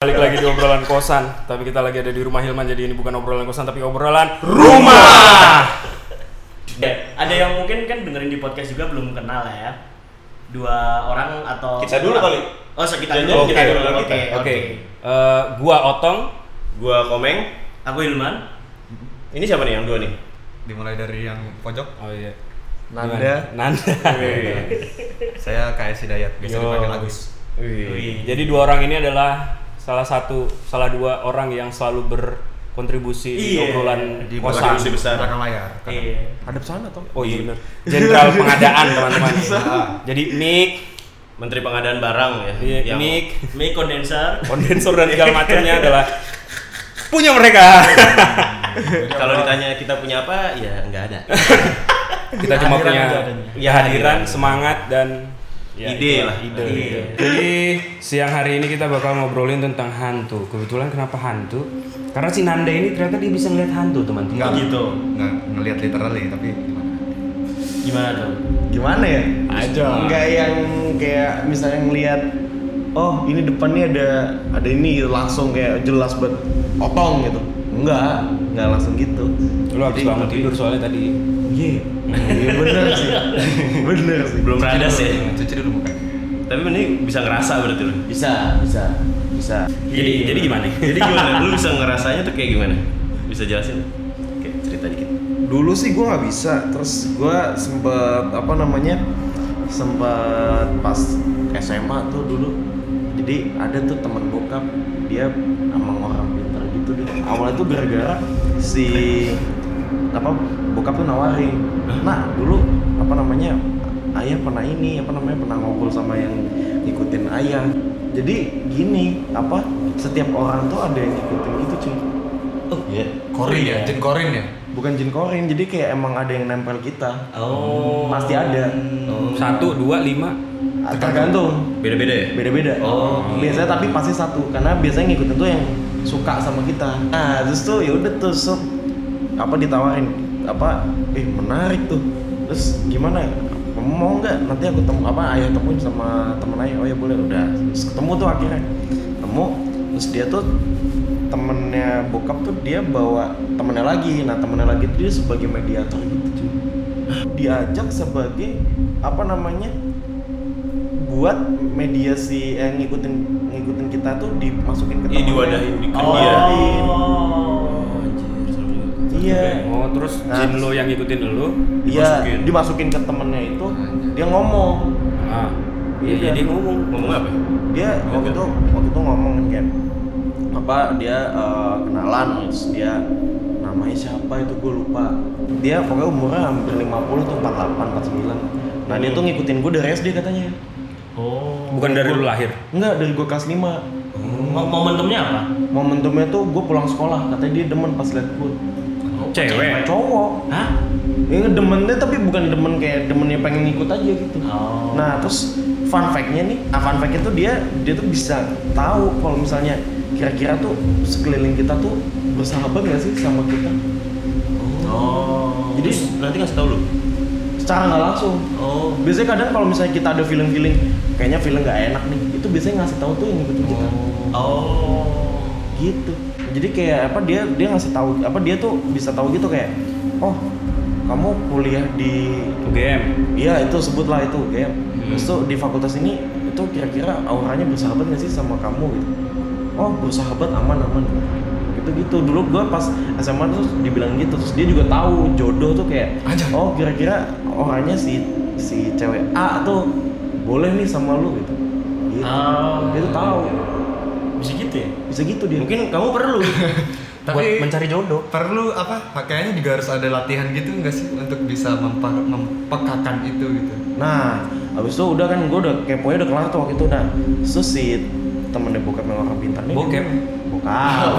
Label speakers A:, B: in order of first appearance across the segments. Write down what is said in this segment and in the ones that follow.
A: lagi di obrolan kosan, tapi kita lagi ada di rumah Hilman jadi ini bukan obrolan kosan tapi obrolan rumah.
B: Eh, ada yang mungkin kan dengerin di podcast juga belum kenal lah ya dua orang atau
C: Kita dulu kali.
B: oh so kita
C: Jangan-jangan
B: dulu
C: kita dulu,
B: oke
C: kita.
B: oke
A: Eh, gua Otong.
C: Gua Komeng.
B: aku Ilman
C: Ini siapa nih yang dua nih?
D: dimulai dari yang pojok
A: Oh iya.
D: Nanda.
A: Gimana? Nanda.
D: saya KS Hidayat biasa
A: Yo.
D: dipanggil Agus
C: Wih.
A: Jadi dua orang ini adalah salah satu, salah dua orang yang selalu berkontribusi di
B: Iya.
A: obrolan
D: di
A: kosan.
C: kontribusi besar.
D: belakang layar
E: kan?
B: iya
C: Hadap sana, Tom.
A: Oh iya benar. Jenderal pengadaan teman-teman. Jadi mic,
C: Menteri Pengadaan Barang ya.
A: iya,
C: Yang
A: mic,
B: mic condenser
A: kondensor dan segala macamnya adalah punya mereka.
C: Kalau ditanya kita punya apa, ya nggak ada.
A: Kita cuma
D: Hadiran
A: punya
D: aja adanya.
A: ya hadiran, semangat dan ya,
C: Ide lah.
A: itulah, ide.
B: Iya.
A: Jadi siang hari ini kita bakal ngobrolin tentang hantu. Kebetulan kenapa hantu? Karena si Nanda ini ternyata dia bisa ngeliat hantu teman-teman.
D: enggak
B: Gitu.
D: enggak ngelihat literally tapi gimana
B: gimana tuh
E: gimana ya?
D: Aja.
E: Enggak yang kayak misalnya ngelihat oh ini depannya ada ada ini gitu, langsung kayak jelas buat otong gitu. Enggak, enggak langsung gitu.
A: Lu habis
E: Jadi
A: bangun
E: lebih-
A: tidur soalnya tadi.
E: Iya. Iya bener sih. bener sih.
C: Belum radas ya.
D: cuci dulu mukanya
C: Tapi mending bisa ngerasa berarti lu.
E: Bisa, bisa, bisa.
C: Jadi jadi gimana? Jadi gimana? Lu bisa ngerasanya tuh kayak gimana? Bisa jelasin? Oke, cerita dikit.
E: Dulu sih gua nggak bisa, terus gua sempet apa namanya sempet pas SMA tuh dulu. Jadi ada tuh teman bokap dia emang orang pintar gitu deh. Awalnya tuh gara-gara si apa bokap tuh nawarin. Nah dulu apa namanya ayah pernah ini apa namanya pernah ngobrol sama yang ngikutin ayah. Jadi gini apa setiap orang tuh ada yang ngikutin gitu cuy.
C: Oh, iya.
D: Korin ya Jin Korin ya
E: Bukan jin korin, jadi kayak emang ada yang nempel kita.
B: oh
E: Pasti ada.
A: Satu, dua, lima.
E: Ah, Tergantung.
C: Beda-beda ya?
E: Beda-beda.
C: Oh.
E: Biasanya tapi pasti satu karena biasanya ngikutin tuh yang suka sama kita. Nah, terus tuh ya udah tuh so, apa ditawarin apa eh menarik tuh. Terus gimana? Kamu mau nggak nanti aku temu apa ayah temuin sama temen ayah oh ya boleh udah terus ketemu tuh akhirnya ketemu terus dia tuh temennya bokap tuh dia bawa temennya lagi nah temennya lagi tuh dia sebagai mediator gitu cuy diajak sebagai apa namanya buat mediasi eh, ngikutin ngikutin kita tuh dimasukin ke
C: Iya,
E: temen
C: diwadahin di
B: oh,
C: dia.
B: oh.
E: iya
A: Oh, terus
E: Nah,
A: jin lo yang ngikutin lo.
E: iya
C: dimasukin.
E: dimasukin ke temennya itu dia ngomong
A: Ah.
E: Iya,
A: Iya, jadi
E: kan?
A: ngomong.
C: Ngomong apa? ya?
E: dia
C: Iya
E: waktu
C: kan?
E: itu waktu itu ngomong kan apa dia eh, kenalan terus dia namanya siapa itu gue lupa dia pokoknya umurnya hampir 50 tuh 48 49 nah dia tuh ngikutin gue dari SD katanya
C: Oh.
A: Bukan dari lu lahir.
E: enggak dari gue kelas 5
B: Mo- momentumnya apa
E: momentumnya tuh gue pulang sekolah katanya dia demen pas liat gue
C: Oh,
A: Cewek.
E: cowok
B: hah
E: ini demennya tapi bukan demen kayak demennya pengen ngikut aja gitu
B: Oh.
E: nah terus fun fact-nya nih nah fun fact-nya tuh dia dia tuh bisa tahu kalau misalnya kira-kira tuh sekeliling kita tuh bersahabat gak sih sama kita
B: oh
E: Jadi-
C: Terus nanti kasih tau lu.
E: secara nggak langsung
B: oh
E: biasanya kadang kalau misalnya kita ada feeling-feeling kayaknya feeling nggak enak nih itu biasanya ngasih tahu tuh yang ngikutin kita
B: oh
E: gitu jadi kayak apa dia dia ngasih tahu apa dia tuh bisa tahu gitu kayak oh kamu kuliah di
A: UGM.
E: Iya itu sebutlah itu game. Terus tuh di fakultas ini itu kira-kira auranya bersahabat nggak sih sama kamu gitu? Oh bersahabat aman aman. Gitu gitu dulu gua pas SMA terus dibilang gitu terus dia juga tahu jodoh tuh kayak
D: Anjay.
E: oh kira-kira orangnya si si cewek A tuh boleh nih sama lu gitu. Gitu.
B: Ah.
E: Dia tuh tahu
B: bisa gitu ya
E: bisa gitu dia.
C: Mungkin kamu perlu.
D: tapi
A: mencari jodoh.
D: perlu apa kayaknya juga harus ada latihan gitu nggak sih untuk bisa mempa- mempekakan itu gitu
E: Nah, abis itu udah kan gue udah keponya udah kelar tuh waktu itu nah terus si temennya bokap yang orang pintar nih
A: Bokep?
E: bokap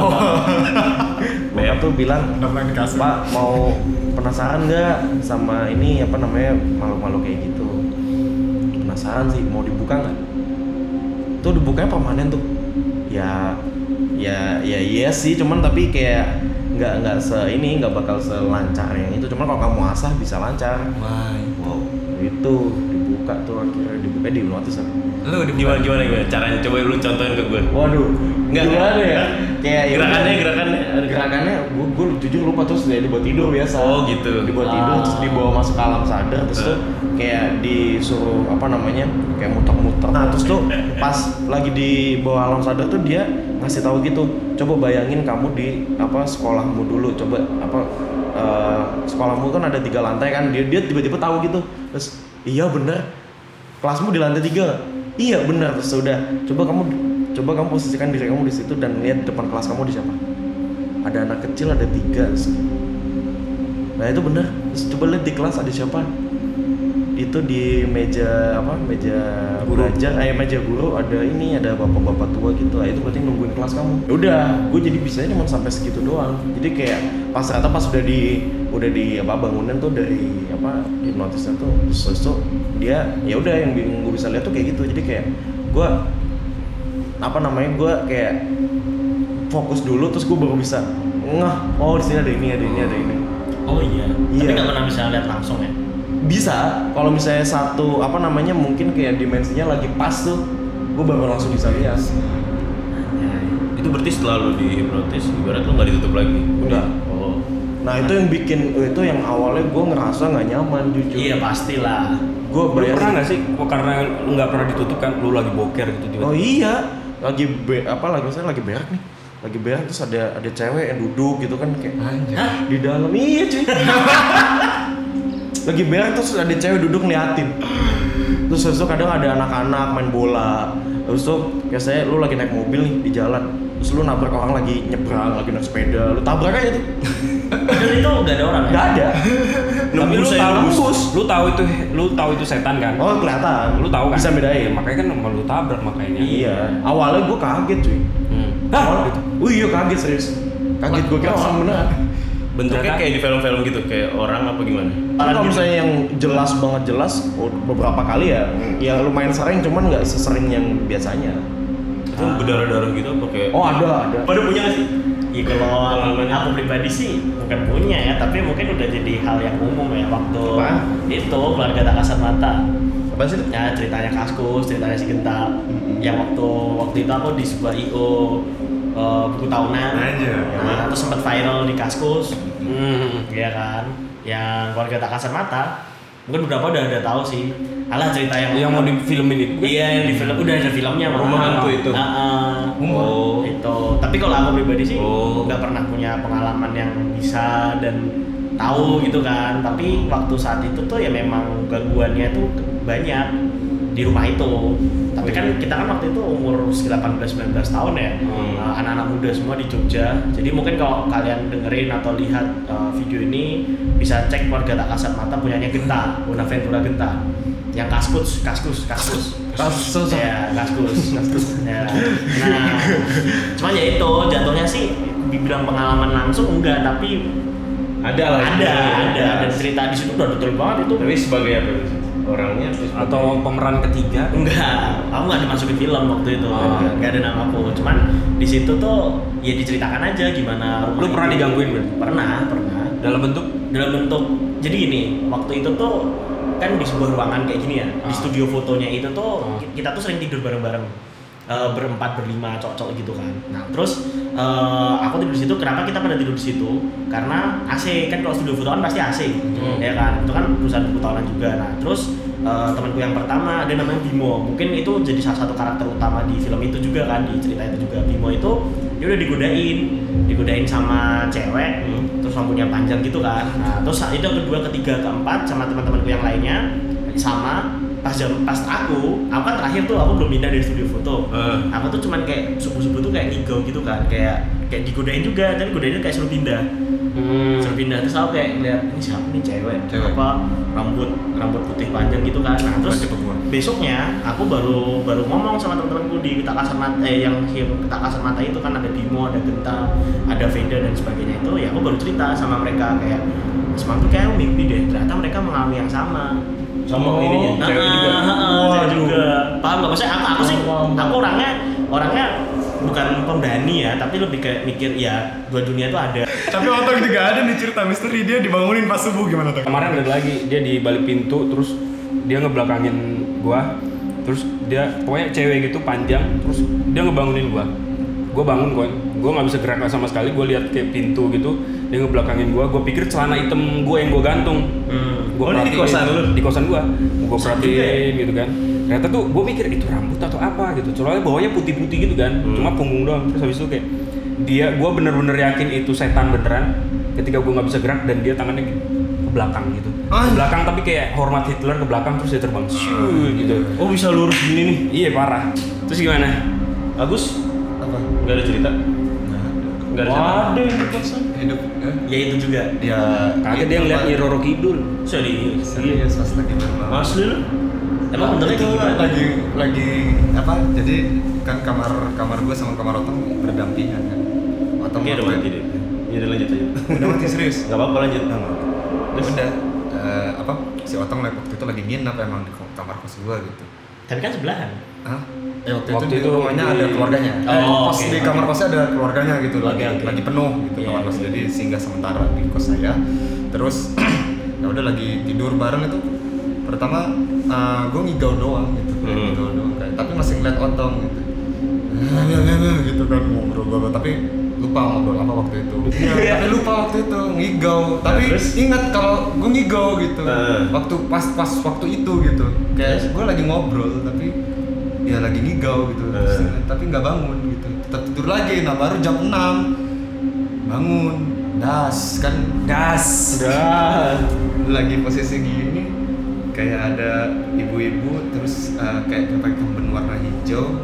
E: bokap tuh bilang
D: Namanya di kasur.
E: pak mau penasaran nggak sama ini apa namanya makhluk-makhluk kayak gitu penasaran sih mau dibuka nggak itu dibukanya permanen tuh ya ya ya iya sih cuman tapi kayak nggak nggak se ini nggak bakal selancar yang itu cuman kalau kamu asah bisa lancar
D: wah
E: Wow, itu dibuka dibuka tuh akhirnya dibuka eh dihipnotis apa?
D: Lu di
C: Gimana gimana gimana? Caranya coba lu contohin ke gue.
E: Waduh,
C: Nggak,
E: gimana ya?
C: nggak.
E: Kayak ya
C: Gerakannya gerakannya.
E: udah. gerakannya gue gue jujur lupa terus dia dibawa tidur biasa.
C: Oh, gitu.
E: Dibawa
B: Ah.
E: tidur terus dibawa masuk alam sadar terus tuh kayak disuruh apa namanya kayak muter-muter. Nah terus tuh pas lagi di bawah alam sadar tuh dia ngasih tahu gitu. Coba bayangin kamu di apa sekolahmu dulu. Coba apa eh, sekolahmu kan ada tiga lantai kan dia dia tiba-tiba tahu gitu terus iya bener kelasmu di lantai tiga iya benar terus udah coba kamu coba kamu posisikan diri kamu di situ dan lihat depan kelas kamu di siapa ada anak kecil ada tiga terus, nah itu benar terus coba lihat di kelas ada siapa itu di meja apa meja
A: Guru.
E: belajar eh meja guru ada ini ada bapak-bapak tua gitu nah, itu berarti nungguin kelas kamu Ya udah gue jadi bisa cuma sampai segitu doang jadi kayak pas ternyata pas udah di udah di apa bangunan tuh dari apa hipnotisnya tuh terus terus tuh dia ya udah yang gue bisa lihat tuh kayak gitu jadi kayak gue apa namanya gue kayak fokus dulu terus gue baru bisa ngeh oh di sini ada ini ada ini ada ini
B: Oh iya. Tapi
E: Iya.
B: nggak pernah bisa lihat langsung ya.
E: bisa kalau misalnya satu apa namanya mungkin kayak dimensinya lagi pas tuh gue baru langsung bisa lihat
C: Iya. Itu berarti setelah lu dihipnotis, ibarat lu nggak ditutup lagi.
E: Nggak.
C: Oh.
E: nah itu yang bikin itu yang awalnya gue ngerasa nggak nyaman jujur
B: Iya pastilah.
E: gue
A: Lu pernah nggak sih Oh, karena lu nggak pernah ditutup kan lu lagi boker gitu tiba-tiba.
E: oh iya lagi be apa lagi misalnya lagi berak nih lagi berak terus ada ada cewek yang duduk gitu kan kayak
D: Anjir.
B: Hah?
E: di dalam iya cuy lagi berak terus ada cewek duduk ngeliatin terus terus kadang ada anak-anak main bola terus tuh biasanya lu lagi naik mobil nih di jalan terus lu nabrak orang lagi nyebrang lagi naik sepeda lu tabrak aja tuh
B: Dan itu nggak ada orang ya.
E: nggak ada
A: Tapi lu
E: Nembus aja,
A: tahu
E: nembus.
A: lu tahu itu lu tahu itu setan kan?
E: oh kelihatan
A: Lu tahu kan?
E: bisa bedain
A: makanya kan sama lu tabrak makanya.
E: iya awalnya gue kaget cuy
A: Hmm.
E: Hah? Oh iya kaget serius kaget gue kira orang beneran
C: Bentuknya
A: Ternyata-
C: kayak di film-film gitu, kayak orang apa gimana?
E: Tapi kalau misalnya yang jelas banget jelas oh, beberapa kali ya ya lumayan sering cuman nggak sesering yang biasanya
C: Itu berdarah-darah gitu apa kayak?
E: oh ada ada
C: Pada punya nggak sih?
B: Ya kalau
C: Pengalaman.
B: aku pribadi sih bukan punya ya, tapi mungkin udah jadi hal yang umum ya waktu
E: Apa?
B: itu keluarga tak kasat mata.
E: apa sih itu?
B: Ya ceritanya Kaskus, ceritanya si Genta. Yang waktu waktu itu aku di sebuah IO eh, buku tahunan.
A: iya.
D: Anjir.
B: Nah, terus sempat viral di Kaskus.
A: Hmm.
B: Iya kan? Yang keluarga tak kasat mata. Mungkin beberapa udah udah tahu sih. Alah cerita yang
A: Yang mau di filmin itu. kan?
B: Iya, yang di film udah ada filmnya malah.
C: gitu Rumah hantu itu.
B: Ah, ah.
C: Oh.
B: itu. Tapi kalau aku pribadi sih
C: Oh.
B: nggak pernah punya pengalaman yang bisa dan tahu gitu kan. Tapi waktu saat itu tuh ya memang gangguannya tuh banyak di rumah itu. Tapi
C: Oh,
B: kan kita kan waktu itu umur 18-19 tahun ya,
C: iya. Hmm.
B: Nah, anak-anak muda semua di Jogja. Jadi mungkin kalau kalian dengerin atau lihat uh, video ini bisa cek keluarga tak kasat mata punyanya Genta, Bonaventura Genta. Yang kaskus, kaskus, kaskus.
D: Kasus.
B: Ya, kaskus, kaskus. Ya. Nah, cuman ya itu jatuhnya sih dibilang pengalaman langsung enggak, tapi
C: Ada
B: ada,
C: lah.
B: ada, Dan cerita di situ udah betul banget itu.
C: Tapi sebagai apa? itu? Orangnya terus
A: Atau pemeran ketiga.
B: Enggak, aku nggak dimasukin film waktu itu,
A: Oh.
B: nggak ada nama aku. Cuman di situ tuh ya diceritakan aja gimana. rumah
A: Lu pernah
B: itu.
A: digangguin, Bro?
B: Pernah, pernah.
A: Dalam bentuk
B: Dalam bentuk, jadi gini, waktu itu tuh kan di sebuah ruangan kayak gini ya,
A: Ah.
B: di studio fotonya itu tuh
A: Ah.
B: ki- kita tuh sering tidur bareng-bareng. Eh, berempat berlima cocok gitu kan. Nah terus eh, aku tidur di situ. Kenapa kita pada tidur di situ? Karena AC kan kalau studio foto kan pasti AC,
A: Hmm.
B: ya kan. Itu kan perusahaan buku tahunan juga. Nah terus eh, temanku yang pertama ada namanya Bimo. Mungkin itu jadi salah satu karakter utama di film itu juga kan di cerita itu juga Bimo itu dia udah digodain, digodain sama cewek. Terus rambutnya panjang gitu kan. Nah terus itu yang kedua, ketiga, keempat sama teman-temanku yang lainnya sama pas jam pas aku aku kan terakhir tuh aku belum pindah dari studio foto
C: Eh.
B: aku tuh cuman kayak subuh subuh tuh kayak ngigau gitu kan kayak kayak digodain juga tapi godainnya kayak suruh pindah suruh pindah terus aku kayak ngeliat ini siapa nih cewek,
D: Cewek.
B: apa rambut rambut putih panjang gitu kan nah terus
D: Cepet gua.
B: besoknya aku baru baru ngomong sama teman-temanku di kita kasar mata eh, yang yang kita kasar mata itu kan ada Bimo ada Genta ada Veda dan sebagainya itu ya aku baru cerita sama mereka kayak semalam tuh kayak aku mimpi deh ternyata mereka mengalami yang sama
C: sama ininya,
B: Nah,
C: cewek juga.
B: saya juga. Paham nggak? Maksudnya aku, aku sih, aku orangnya orangnya bukan pemberani ya, tapi lebih kayak mikir ya dua dunia itu ada.
D: Tapi otak juga ada nih cerita misteri dia dibangunin pas subuh gimana tuh?
A: kemarin ada lagi dia di balik pintu terus dia ngebelakangin gua terus dia pokoknya cewek gitu panjang terus dia ngebangunin gua gua bangun kon gua nggak bisa gerak sama sekali gua lihat kayak pintu gitu dia ngebelakangin gua gua pikir celana hitam gua yang gua gantung
B: Hmm.
A: gua
B: oh, ini di
A: perhatiin.
B: kosan lu?
A: di kosan gua gua
B: Kosan juga ya?
A: perhatiin gitu kan ternyata tuh gua mikir itu rambut atau apa gitu soalnya bawahnya putih-putih gitu kan
B: Hmm.
A: cuma punggung doang terus habis itu kayak dia gua bener-bener yakin itu setan beneran ketika gua nggak bisa gerak dan dia tangannya ke belakang gitu
D: Ah.
A: ke belakang tapi kayak hormat Hitler ke belakang terus dia terbang Shoo, gitu
B: Ah. Oh bisa lurus gini nih.
A: iya parah terus gimana
C: Agus
D: apa
C: nggak ada cerita
D: nah
C: nggak ada cerita
D: hidup eh?
B: Ya itu juga.
D: ya
A: kaget dia
B: Iya,
A: ngeliat Nyi Roro Kidul
B: Serius.
D: serius pas lagi malam
B: Asli lu. Oh, iya.
D: Nah,
B: Iya, Emang bentuknya
D: itu
B: kayak
C: kan?
B: gimana?
D: lagi lagi apa jadi kan kamar kamar gue sama kamar otong berdampingan kan
C: Kayaknya
D: otong
C: udah
D: waktu-
C: mati deh ya udah lanjut aja
D: udah mati serius
C: nggak apa-apa lanjut
D: Terus udah eh, apa si Otong lah waktu itu lagi nginep emang di ko- kamar kos gua gitu.
B: Tapi kan sebelahan.
D: Hah? Eh, waktu,
A: Waktu
D: itu,
A: itu
D: di rumahnya ada
A: di-
D: keluarganya.
B: Oh,
D: eh, kos
B: oke,
D: di
B: oke.
D: kamar kosnya ada keluarganya gitu
B: Oke,
D: lagi
B: oke.
D: lagi penuh gitu
B: Iya,
D: kamar kos
B: oke.
D: jadi singgah sementara di kos saya. Terus ya udah lagi tidur bareng itu pertama eh, gua ngigau doang gitu kayak
C: Hmm.
D: ngigau doang kayak tapi masih ngeliat Otong gitu. gitu kan ngobrol gua tapi lupa ngobrol apa waktu itu. Iya, tapi lupa waktu itu ngigau. Tapi
C: Terus?
D: ingat kalau gue ngigau gitu.
C: Heeh.
D: Waktu pas pas waktu itu gitu. Kayak gue lagi ngobrol tapi ya lagi ngigau gitu. Terus,
C: Heeh.
D: tapi nggak bangun gitu. Tetap tidur lagi. Nah, baru jam 6 bangun. Das kan
A: das
D: lagi posisi gini kayak ada ibu-ibu terus eh, kayak pakai kemben warna hijau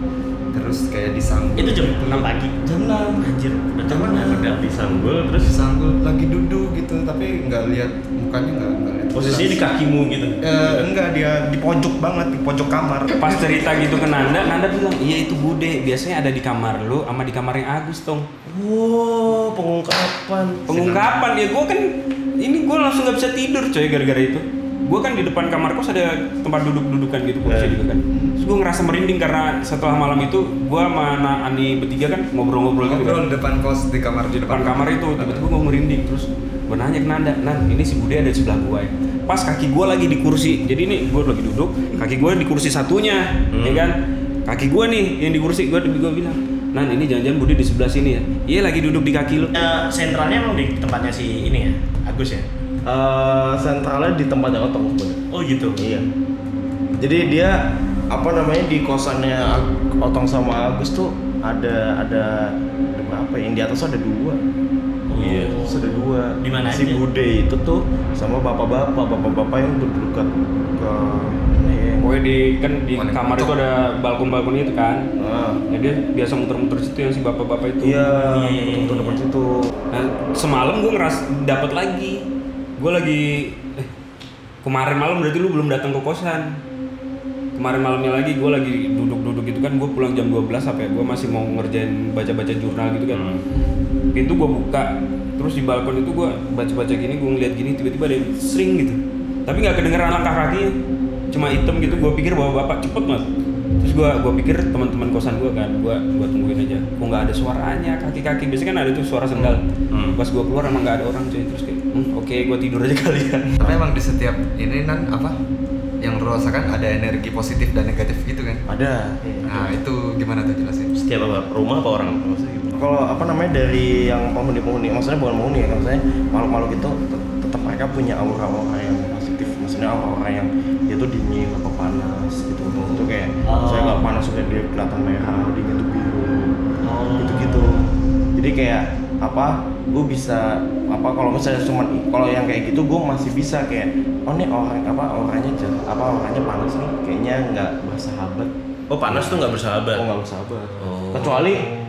D: terus kayak disambung
B: Itu jam 6 pagi.
D: jam 6
B: Anjir, udah jam 6
D: Jangan.
C: udah disanggul terus
D: terus sanggul lagi duduk gitu tapi nggak lihat mukanya nggak nggak lihat
C: posisinya di
D: jelas.
C: kakimu gitu
D: Eh, enggak dia di pojok banget di pojok kamar
A: pas cerita gitu ke Nanda Nanda bilang iya itu bude biasanya ada di kamar lu sama di kamar yang Agus tong
E: Wow, pengungkapan.
A: pengungkapan ya gue kan ini gue langsung nggak bisa tidur coy gara-gara itu gue kan di depan kamar kos ada tempat duduk-dudukan gitu kursi
C: Eh.
A: juga kan terus gue ngerasa merinding karena setelah malam itu gue sama anak Ani bertiga kan ngobrol-ngobrol gitu
D: ngobrol
A: kan
D: di depan kos di kamar
A: di depan kamar itu tiba-tiba gue merinding terus gue nanya ke Nanda Nan ini si Bude ada di sebelah gue ya pas kaki gue lagi di kursi jadi ini gue lagi duduk kaki gue di kursi satunya ya kan kaki gue nih yang di kursi gue gue bilang Nan ini jangan-jangan Bude di sebelah sini ya iya lagi duduk di kaki lu
B: Eh, sentralnya emang di tempatnya si ini ya, Agus ya.
E: Eh, sentralnya di tempat yang otong sebenarnya.
B: Oh gitu.
E: Iya. Jadi dia apa namanya di kosannya Ag- Otong sama Agus tuh ada ada ada berapa ya? Yang di atas ada dua.
B: Oh.
C: Iya.
E: Terus ada dua.
B: Di mana
E: Si
B: aja?
E: Bude itu tuh sama bapak-bapak, bapak-bapak yang berdekat ke mana ya?
B: Iya.
A: Pokoknya di kan di
D: Mana?
A: kamar itu ada balkon-balkon itu kan.
E: Nah,
A: Ya dia biasa muter-muter situ yang si bapak-bapak itu.
E: iya,
B: Iya, iya, iya.
E: untuk depan situ.
A: Nah, semalam gue ngeras dapat lagi. Gue lagi eh, kemarin malam berarti lu belum datang ke kosan. Kemarin malamnya lagi gue lagi duduk-duduk gitu kan gue pulang jam 12 sampai gue ya, masih mau ngerjain baca-baca jurnal gitu kan. Pintu gue buka terus di balkon itu gue baca-baca gini gue ngeliat gini tiba-tiba ada yang sering gitu. Tapi nggak kedengeran langkah kakinya. Cuma hitam gitu gue pikir bahwa bapak cepet mas. Terus gue gua pikir teman-teman kosan gue kan gue gua tungguin aja. Kok nggak ada suaranya kaki-kaki biasanya kan ada tuh suara sendal.
C: Hmm.
A: Pas gue keluar emang gak ada orang cuy terus kayak hmm, oke gue tidur aja kali ya.
D: tapi emang di setiap ini nan apa yang lu rasakan ada energi positif dan negatif gitu kan
E: Ada.
B: Iya.
D: nah itu gimana tuh jelasin
C: setiap apa rumah apa orang maksudnya gitu
E: kalau apa namanya dari yang penghuni-penghuni maksudnya bukan penghuni ya maksudnya makhluk-makhluk itu tet- tetap mereka punya aura-aura yang positif maksudnya aura-aura yang dia tuh dingin atau panas gitu itu kayak
B: Oh.
E: saya nggak panas udah dia kelihatan merah dingin tuh biru
B: Oh.
E: gitu-gitu jadi kayak apa gue bisa apa kalau misalnya cuman kalau yang kayak gitu gue masih bisa kayak oh nih orang apa orangnya jat- apa orangnya panas nih kayaknya nggak bersahabat
C: oh panas tuh nggak bersahabat
E: Oh nggak bersabar.
C: Oh.
E: Kecuali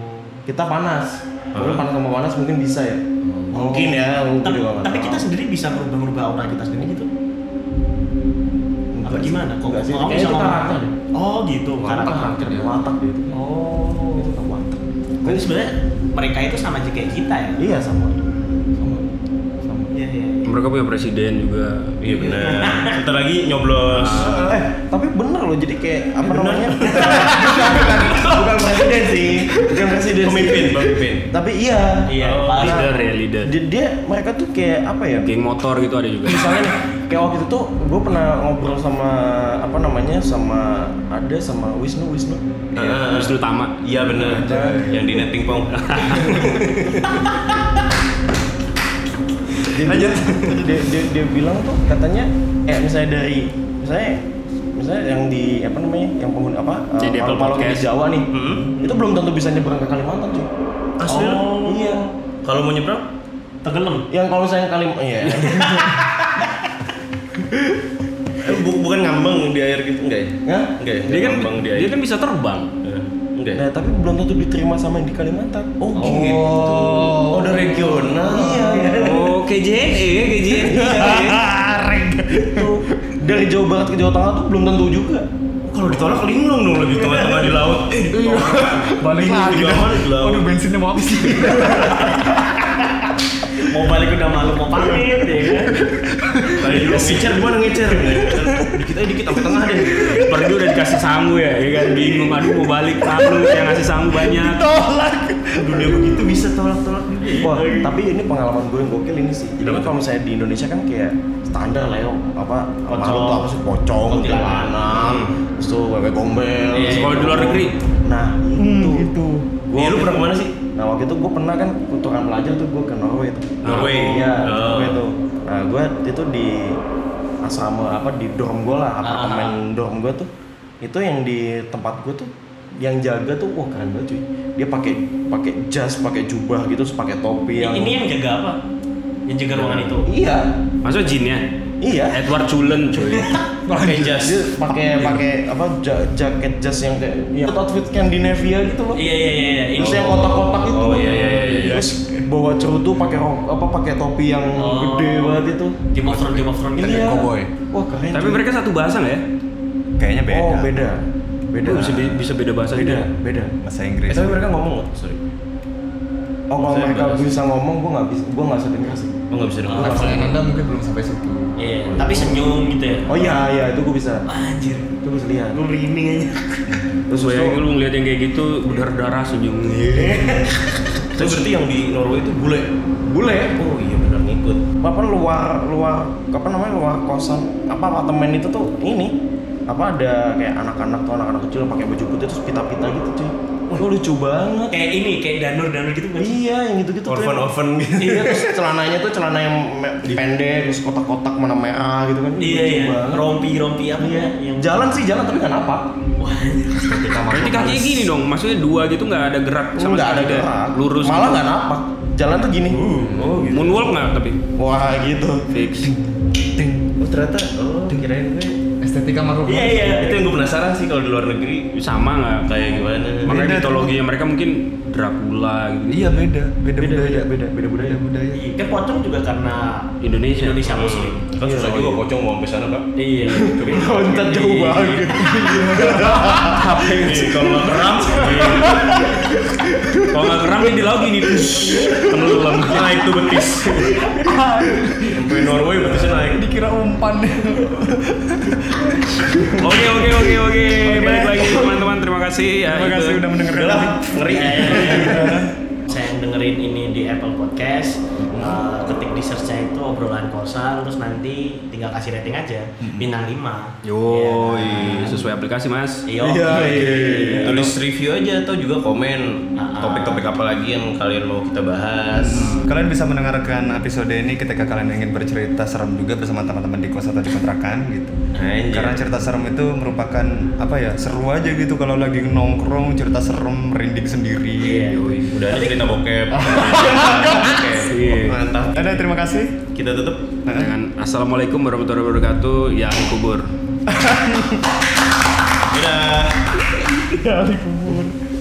E: kita panas. Mungkin
C: Hah?
E: panas sama panas mungkin bisa ya.
A: Hmm.
E: Mungkin ya.
B: Oh.
E: mungkin
B: Tapi,
E: juga nggak
B: tapi
E: tahu.
B: kita sendiri bisa merubah-merubah aura kita sendiri gitu.
E: Enggak
B: Apa
E: sih.
B: gimana? Kok
E: Enggak sih.
B: kok kamu
E: Kayaknya
B: bisa
E: itu
B: ngomong?
E: karakter deh.
B: Oh gitu,
D: Watak.
B: karakter.
E: Karakter
D: Iya.
E: dia watak dia itu.
B: Oh.
E: Itu kan watak.
B: Jadi sebenarnya mereka itu sama aja kayak kita ya.
E: Iya sama. Sama. Sama.
B: Iya iya. iya.
A: mereka punya presiden juga
C: Iya benar. Bentar lagi nyoblos.
E: eh tapi bener loh jadi kayak apa namanya
B: bukan presiden sih
E: bukan presiden sih.
C: Pemimpin, pemimpin.
E: tapi iya
B: iya
C: Oh,
B: parah.
A: leader ya leader
E: dia, dia mereka tuh kayak apa
C: Ah.
E: ya
A: geng motor gitu ada juga
E: misalnya nih, kayak waktu itu tuh gue pernah ngobrol sama apa namanya sama ada sama Wisnu Wisnu
C: Ah.
A: Wisnu Tama
C: Iya benar. Yang di netting pong.
E: dia, dia, dia, dia bilang tuh katanya eh misalnya dari misalnya misalnya yang di apa namanya yang penghuni apa
A: Jadi
E: eh,
A: Apple
E: malam-malam di
A: Podcast.
E: Jawa nih
C: Hmm.
E: itu belum tentu bisa nyebrang ke Kalimantan cuy
C: Asli lu?
E: oh, iya
C: Kalau mau nyebrang,
B: tenggelam
E: yang kalau misalnya Kalimantan iya
C: eh, bu- bukan ngambang di air gitu enggak ya?
E: Hah?
C: Enggak ya?
A: dia kan
C: ngambang di air.
A: dia kan bisa terbang
C: Eh, Enggak. ya?
E: nah tapi belum tentu diterima sama yang di Kalimantan oh,
C: gitu.
B: Oh.
E: udah regional iya
A: oh KJNE ya KJNE
E: Itu dari Jawa Barat ke Jawa Tengah tuh belum tentu juga
C: Oh, Kalau ditolak linglung dong lagi tengah-tengah di laut. Eh, ditolak.
D: Balik
C: Lagi
D: lagi.
C: lama di laut.
D: Aduh bensinnya mau habis.
B: mau balik udah malu mau pamit ya kan
C: Tadi dulu ngecer gimana ngecer? Dikit aja dikit sampai tengah deh.
A: pergi udah dikasih sangu ya ya kan bingung aduh mau balik malu yang ngasih sangu banyak
C: Dunia begitu bisa tolak-tolak.
E: Wah, tapi ini pengalaman gue yang gokil ini sih. Jadi
C: Kenapa
E: kan kalau misalnya di Indonesia kan kayak standar lah ya, apa
B: Pocong.
E: malam tuh apa sih pocong,
B: Kuntilanak.
E: kuntilanak,
C: Hmm.
E: terus tuh wewe gombel.
A: Iya,
E: terus
A: kalau di luar negeri.
E: Nah, itu. itu.
C: Iya, lu pernah kemana sih?
E: Nah, waktu itu gue pernah kan kutukan pelajar tuh gue ke Norway tuh.
C: Norway.
E: Iya,
C: Oh.
E: Norway tuh. Nah, gue itu di asrama apa di dorm gue lah,
C: Ah,
E: apartemen dorm gue tuh. Itu yang di tempat gue tuh yang jaga tuh wah keren banget cuy dia pakai pakai jas pakai jubah gitu terus pakai topi yang
B: ini yang jaga apa yang jaga ruangan itu
E: Iya,
A: masa jinnya
E: iya.
A: ya? Edward Cullen cuy
C: Pakai jas.
E: Dia pakai pakai apa ja- jaket jas yang kayak ya. outfit Scandinavia gitu loh.
B: iya iya iya, iya
E: Terus
B: ini
E: yang kotak-kotak itu.
C: Oh, iya, iya, iya, iya.
E: Terus bawa cerutu pakai rok- apa pakai topi yang
B: Oh.
E: gede banget itu.
B: Game of Thrones Game of Thrones gitu
E: Iya.
D: cowboy.
E: Wah keren.
A: tapi
E: cuy.
A: mereka satu bahasa nggak ya
D: Kayaknya beda.
E: Oh beda, beda.
A: bisa be- bisa beda bahasa
E: beda,
A: juga.
E: beda.
D: Bahasa Inggris.
E: tapi mereka ngomong nggak?
C: Sorry.
E: Iya. Oh kalau
C: Saya
E: mereka
C: bahas.
E: bisa ngomong, gue nggak bisa, gue nggak sering kasih.
C: Oh nggak bisa dengar.
B: Ah.
D: Levelnya Nanda mungkin belum sampai situ.
B: Iya, tapi senyum gitu ya
E: Oh iya, iya itu gue bisa.
B: anjir
E: Itu gue bisa lihat.
B: gue merinding aja
E: Terus
A: Gue
E: itu-
A: yang lu ngeliat yang kayak gitu berdarah-darah senyum.
C: Tapi berarti yang di Norway itu bule.
E: bule.
C: Oh iya benar ngikut.
E: apa luar luar apa namanya luar kosan apa apartemen itu tuh ini apa ada kayak anak-anak tuh anak-anak kecil pakai baju putih terus pita-pita gitu cuy wah lucu banget
B: kayak ini kayak danur danur gitu kan
E: iya yang gitu-gitu tuh
C: Orphan orphan gitu.
E: iya terus celananya tuh celana yang me- pendek terus kotak-kotak warna merah gitu kan
B: iya
E: lucu
B: iya
E: banget
B: rompi rompi apa
E: iya
B: ya yang
E: jalan sih jalan tapi nggak napak
B: wah anjir.
D: Kita masuk
A: Berarti kakinya gini dong, maksudnya dua gitu nggak ada gerak sama
E: nggak ada
A: sekali deh.
E: gerak
A: Lurus.
E: malah
A: gitu.
E: nggak napak jalan tuh gini
C: Oh gitu.
A: Moonwalk nggak tapi?
E: wah gitu
A: Fix.
C: Oh ternyata. Oh kirain gue.
D: estetika makhluk.
B: iya iya
C: Itu yang gue penasaran sih kalau di luar negeri
A: Sama nggak?
C: kayak gimana.
A: Makanya
D: Beda.
A: mitologinya mereka mungkin Dracula gitu.
D: Iya beda, beda
E: beda
D: budaya.
E: beda beda beda budaya
D: Beda budaya.
B: Iya, kan pocong juga karena
A: Indonesia.
B: Indonesia muslim
C: Kan
E: Iya,
C: susah
E: oh,
C: juga
E: iya.
C: pocong mau sampai sana kak.
B: iya
E: loncat jauh
C: gitu.
E: banget
C: Iya, Kalau nggak keram.
A: Kalau nggak gerak dia di laut gini terus tenggelam.
C: Naik tuh betis. Sampai Norway betisnya naik.
D: Dikira umpan
A: Oke oke oke oke. Balik lagi teman-teman terima kasih ya.
D: Terima kasih
A: itu.
D: udah mendengarkan.
C: Udah lah, ngeri.
B: Iya, iya, iya. saya yang dengerin ini di Apple Podcast eh, ketik di search itu obrolan kosan terus nanti tinggal kasih rating aja bintang 5
A: Yoi, sesuai aplikasi mas.
B: iya
D: Iya, iya,
C: Ya, Tulis review aja atau juga komen
B: Ah.
C: topik-topik apa lagi yang kalian mau kita bahas.
D: Kalian bisa mendengarkan episode ini ketika kalian ingin bercerita serem juga bersama teman-teman di kos atau di kontrakan gitu.
C: Anjir.
D: Karena cerita serem itu merupakan apa ya seru aja gitu kalau lagi nongkrong cerita serem merinding sendiri. gitu.
B: Iya.
C: Yoi, udah ada cerita bokep.
A: Iya.
C: Oke,
D: Iya.
C: mantap.
D: Ada terima kasih.
C: Kita tutup.
A: Dengan assalamualaikum warahmatullahi wabarakatuh. Ya kubur.
C: Dadah.
D: Ya, ampun.